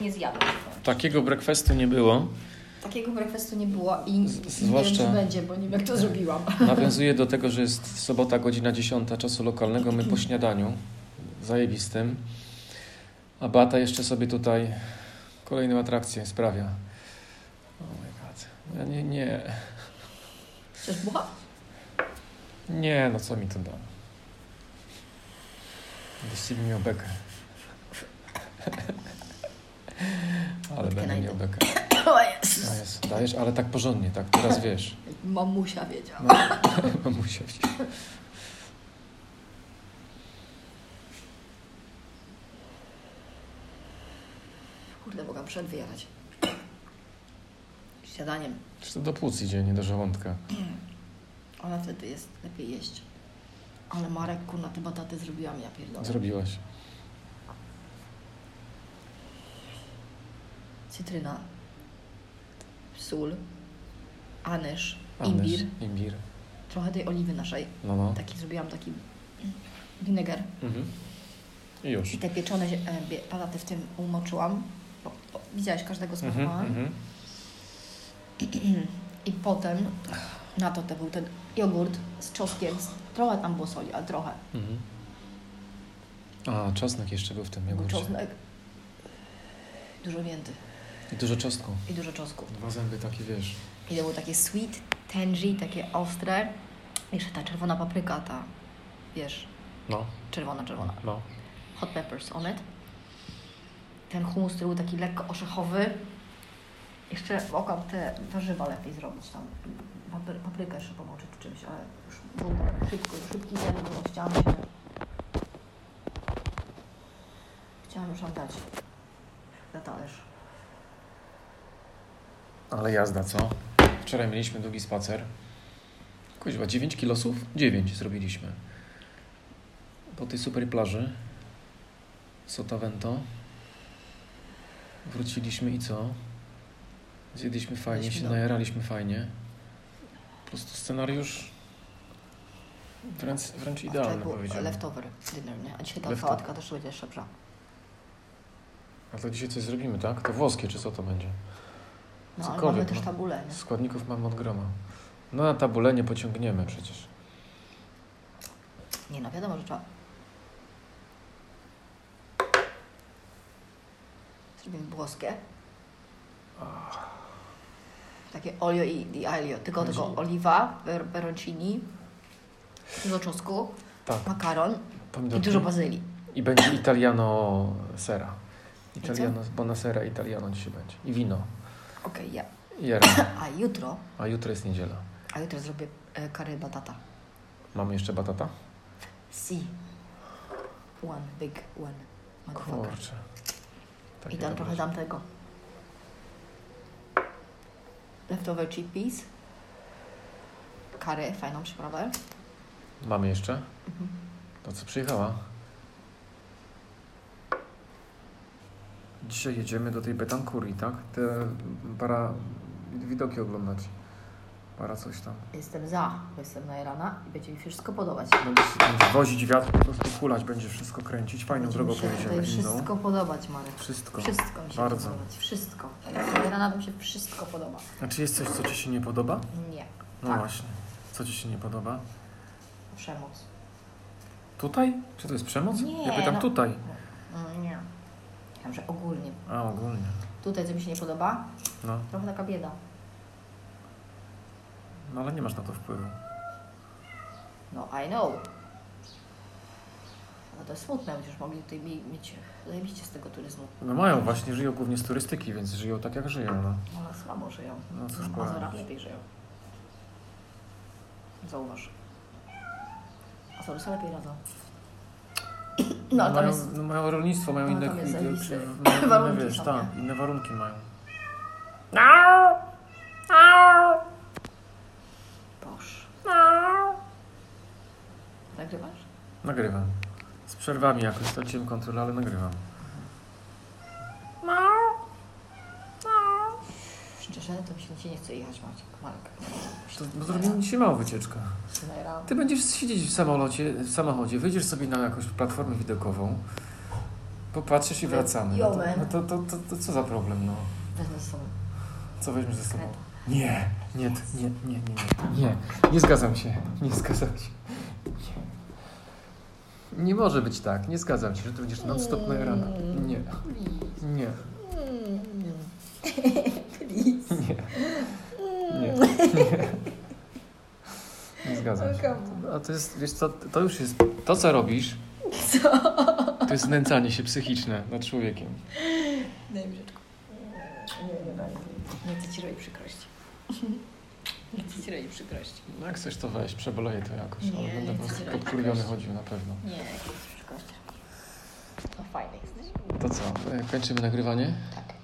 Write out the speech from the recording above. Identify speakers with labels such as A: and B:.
A: nie zjadłam.
B: Takiego breakfastu nie było.
A: Takiego breakfastu nie było i
B: Z-
A: nie wiem, czy
B: zwłaszcza-
A: będzie, bo nie wiem, jak to zrobiłam.
B: Nawiązuje do tego, że jest sobota, godzina 10 czasu lokalnego, my po śniadaniu zajebistym. A Bata jeszcze sobie tutaj kolejną atrakcję sprawia. Oh my god. Ja nie, nie,
A: Chcesz bucha?
B: nie, no co mi to da? Właściwie miał bekę. Ale
A: Łódkę
B: będę
A: najdę.
B: miał bekę.
A: O Jezus.
B: A jest, dajesz, ale tak porządnie, tak, teraz wiesz.
A: Mamusia wiedziała.
B: No, mamusia wzięła.
A: Kurde, mogłam przed wyjechać. Śniadaniem.
B: Czy to do płuc idzie, nie do żołądka.
A: Ale wtedy jest lepiej jeść. Ale Marek, kurna, te bataty zrobiłam ja pierdolę.
B: Tak. Zrobiłaś.
A: Cytryna. Sól. Anysz.
B: Anysz,
A: Imbir. Tak.
B: Imbir.
A: Trochę tej oliwy naszej.
B: No, no.
A: Taki zrobiłam taki winegar.
B: Mhm. I już.
A: I te pieczone zie- e, bie- bataty w tym umoczyłam. Bo, bo, widziałeś, każdego
B: Mhm,
A: smakowałam.
B: mhm.
A: I potem na to to był ten jogurt z czosnkiem. z- Trochę tam było soli, ale trochę.
B: Mhm. A, czosnek jeszcze był w tym
A: Był
B: jogurcie.
A: czosnek. Dużo mięty
B: I dużo czosnku.
A: i dużo czosnku.
B: Dwa zęby takie, wiesz.
A: I to było takie sweet, tangy, takie ostre. Jeszcze ta czerwona papryka, ta, wiesz,
B: No,
A: czerwona, czerwona.
B: no.
A: Hot peppers on it. Ten hummus, który był taki lekko orzechowy. Jeszcze mogłam te warzywa lepiej zrobić tam. Papry, paprykę jeszcze pomoczyć w czymś, ale już był tak szybko, szybki zjadł, bo chciałam się... Chciałam już oddać na talerz.
B: Ale jazda, co? Wczoraj mieliśmy długi spacer. Kuźwa, 9 kilosów? 9 zrobiliśmy. Po tej super plaży Sotavento wróciliśmy i co? Zjedliśmy fajnie,
A: Byliśmy
B: się
A: dobrzy.
B: najaraliśmy fajnie. Po prostu scenariusz wręcz, wręcz
A: A wczoraj
B: idealny
A: był
B: powiedziałbym.
A: leftover dinner, nie? A dzisiaj ta
B: Lefto-
A: sałatka też będzie szybsza.
B: A to dzisiaj coś zrobimy, tak? To włoskie czy co to będzie?
A: No, ale
B: Cokolwiek,
A: mamy też
B: no.
A: tabulę, nie?
B: Składników mamy od groma. No na tabulę nie pociągniemy przecież.
A: Nie no, wiadomo, że trzeba. Zrobimy włoskie. Takie olio i, i alio. Tylko,
B: Będzie-
A: tylko oliwa, per- peroncini, dużo czosnku,
B: Tak,
A: makaron No. i
B: pomidorki.
A: dużo bazylii.
B: I będzie Italiano sera. Italiano, bonasera Italiano dzisiaj będzie. I wino.
A: Okej, ja.
B: I jera.
A: A jutro,
B: A jutro jest niedziela.
A: a jutro zrobię e, curry batata.
B: Mamy jeszcze batata?
A: Si. One, big one. Motherfucker.
B: Kurczę. Tak
A: I
B: nie
A: tam
B: dobrze.
A: trochę dam tego. Leftowe chickpeas. Curry, fajną przyprawę.
B: Mamy jeszcze?
A: Mhm.
B: To co przyjechała? Dzisiaj jedziemy do tej Betancurii, tak? Te para... widoki oglądać. Para coś tam.
A: Jestem za, bo jestem najrana i będzie mi się wszystko podobać.
B: Będziesz, będziesz wozić wiatr, po prostu hulać, będzie wszystko kręcić. Fajną
A: Będzie
B: drogą
A: mi się
B: pojedziemy
A: tutaj
B: inną.
A: wszystko podobać, Marek.
B: Wszystko.
A: Wszystko mi się
B: Bardzo.
A: podobać. Wszystko. Jak jestem Najrana mi się wszystko podoba.
B: A czy jest coś, co Ci się nie podoba?
A: Nie.
B: No
A: tak,
B: właśnie. Co Ci się nie podoba?
A: przemoc.
B: Tutaj? Czy to jest przemoc?
A: Nie,
B: ja pytam
A: no.
B: tutaj.
A: Mm, Nie. Wiem, że ogólnie.
B: A, ogólnie.
A: Tutaj, co mi się nie podoba,
B: No.
A: trochę taka bieda.
B: no, ale nie masz na to wpływu.
A: No, I know. No to jest smutne, chociaż mogli tutaj mi- mieć zajebiście z tego turyzmu.
B: No mają właśnie, żyją głównie z turystyki, więc żyją tak jak żyją. No,
A: One słabo żyją.
B: no cóż
A: Na
B: powiem.
A: Azorach lepiej żyją. Zauważ. Azory sobie lepiej radzą. No, ale tam
B: mają,
A: jest...
B: no, mają rolnictwo, mają
A: no,
B: inne,
A: tam jest
B: inne,
A: zajebiste.
B: inne,
A: Warunki
B: wiesz,
A: są,
B: tak, inne warunki mają.
A: No, Boż. Nagrywasz?
B: Nagrywam. Z przerwami jakoś straciłem kontrolę, ale nagrywam.
A: Szczerze, to mi się dzisiaj nie chce jechać, Marcin. Marek.
B: To, bo zrobimy dzisiaj małą wycieczkę.
A: Najrano.
B: Ty będziesz siedzieć w samolocie, w samochodzie, wyjdziesz sobie na jakąś platformę widokową, Popatrzysz i wracamy. No to,
A: Jomen.
B: no to, to, to, to co za problem, no?
A: Wezmę ze sobą
B: Co weźmiesz ze sobą?
A: krep.
B: Nie, nie, to- nie, nie, nie, nie, nie, nie zgadzam się, nie zgadzam się. Nie, nie może być tak, nie zgadzam się, że to będziesz non-stop nagrana. Nie, nie,
A: Please.
B: nie, nie, nie. Nie zgadzam się. A to jest, wiesz co, to już jest, to co robisz, to jest znęcanie się psychiczne nad człowiekiem.
A: Daj mi rzeczkę. Nie, nie, daj. nie chcę ci robić przykrości. Nie chcę ci robić przykrości.
B: No jak chcesz to weź, przeboleję to jakoś,
A: Nie,
B: ale będę po
A: nie
B: prostu
A: chcę
B: podkurwiony
A: robić.
B: chodził na pewno.
A: Nie, jakieś przykrości. No fajny jesteś.
B: To co, e, kończymy nagrywanie?
A: Tak.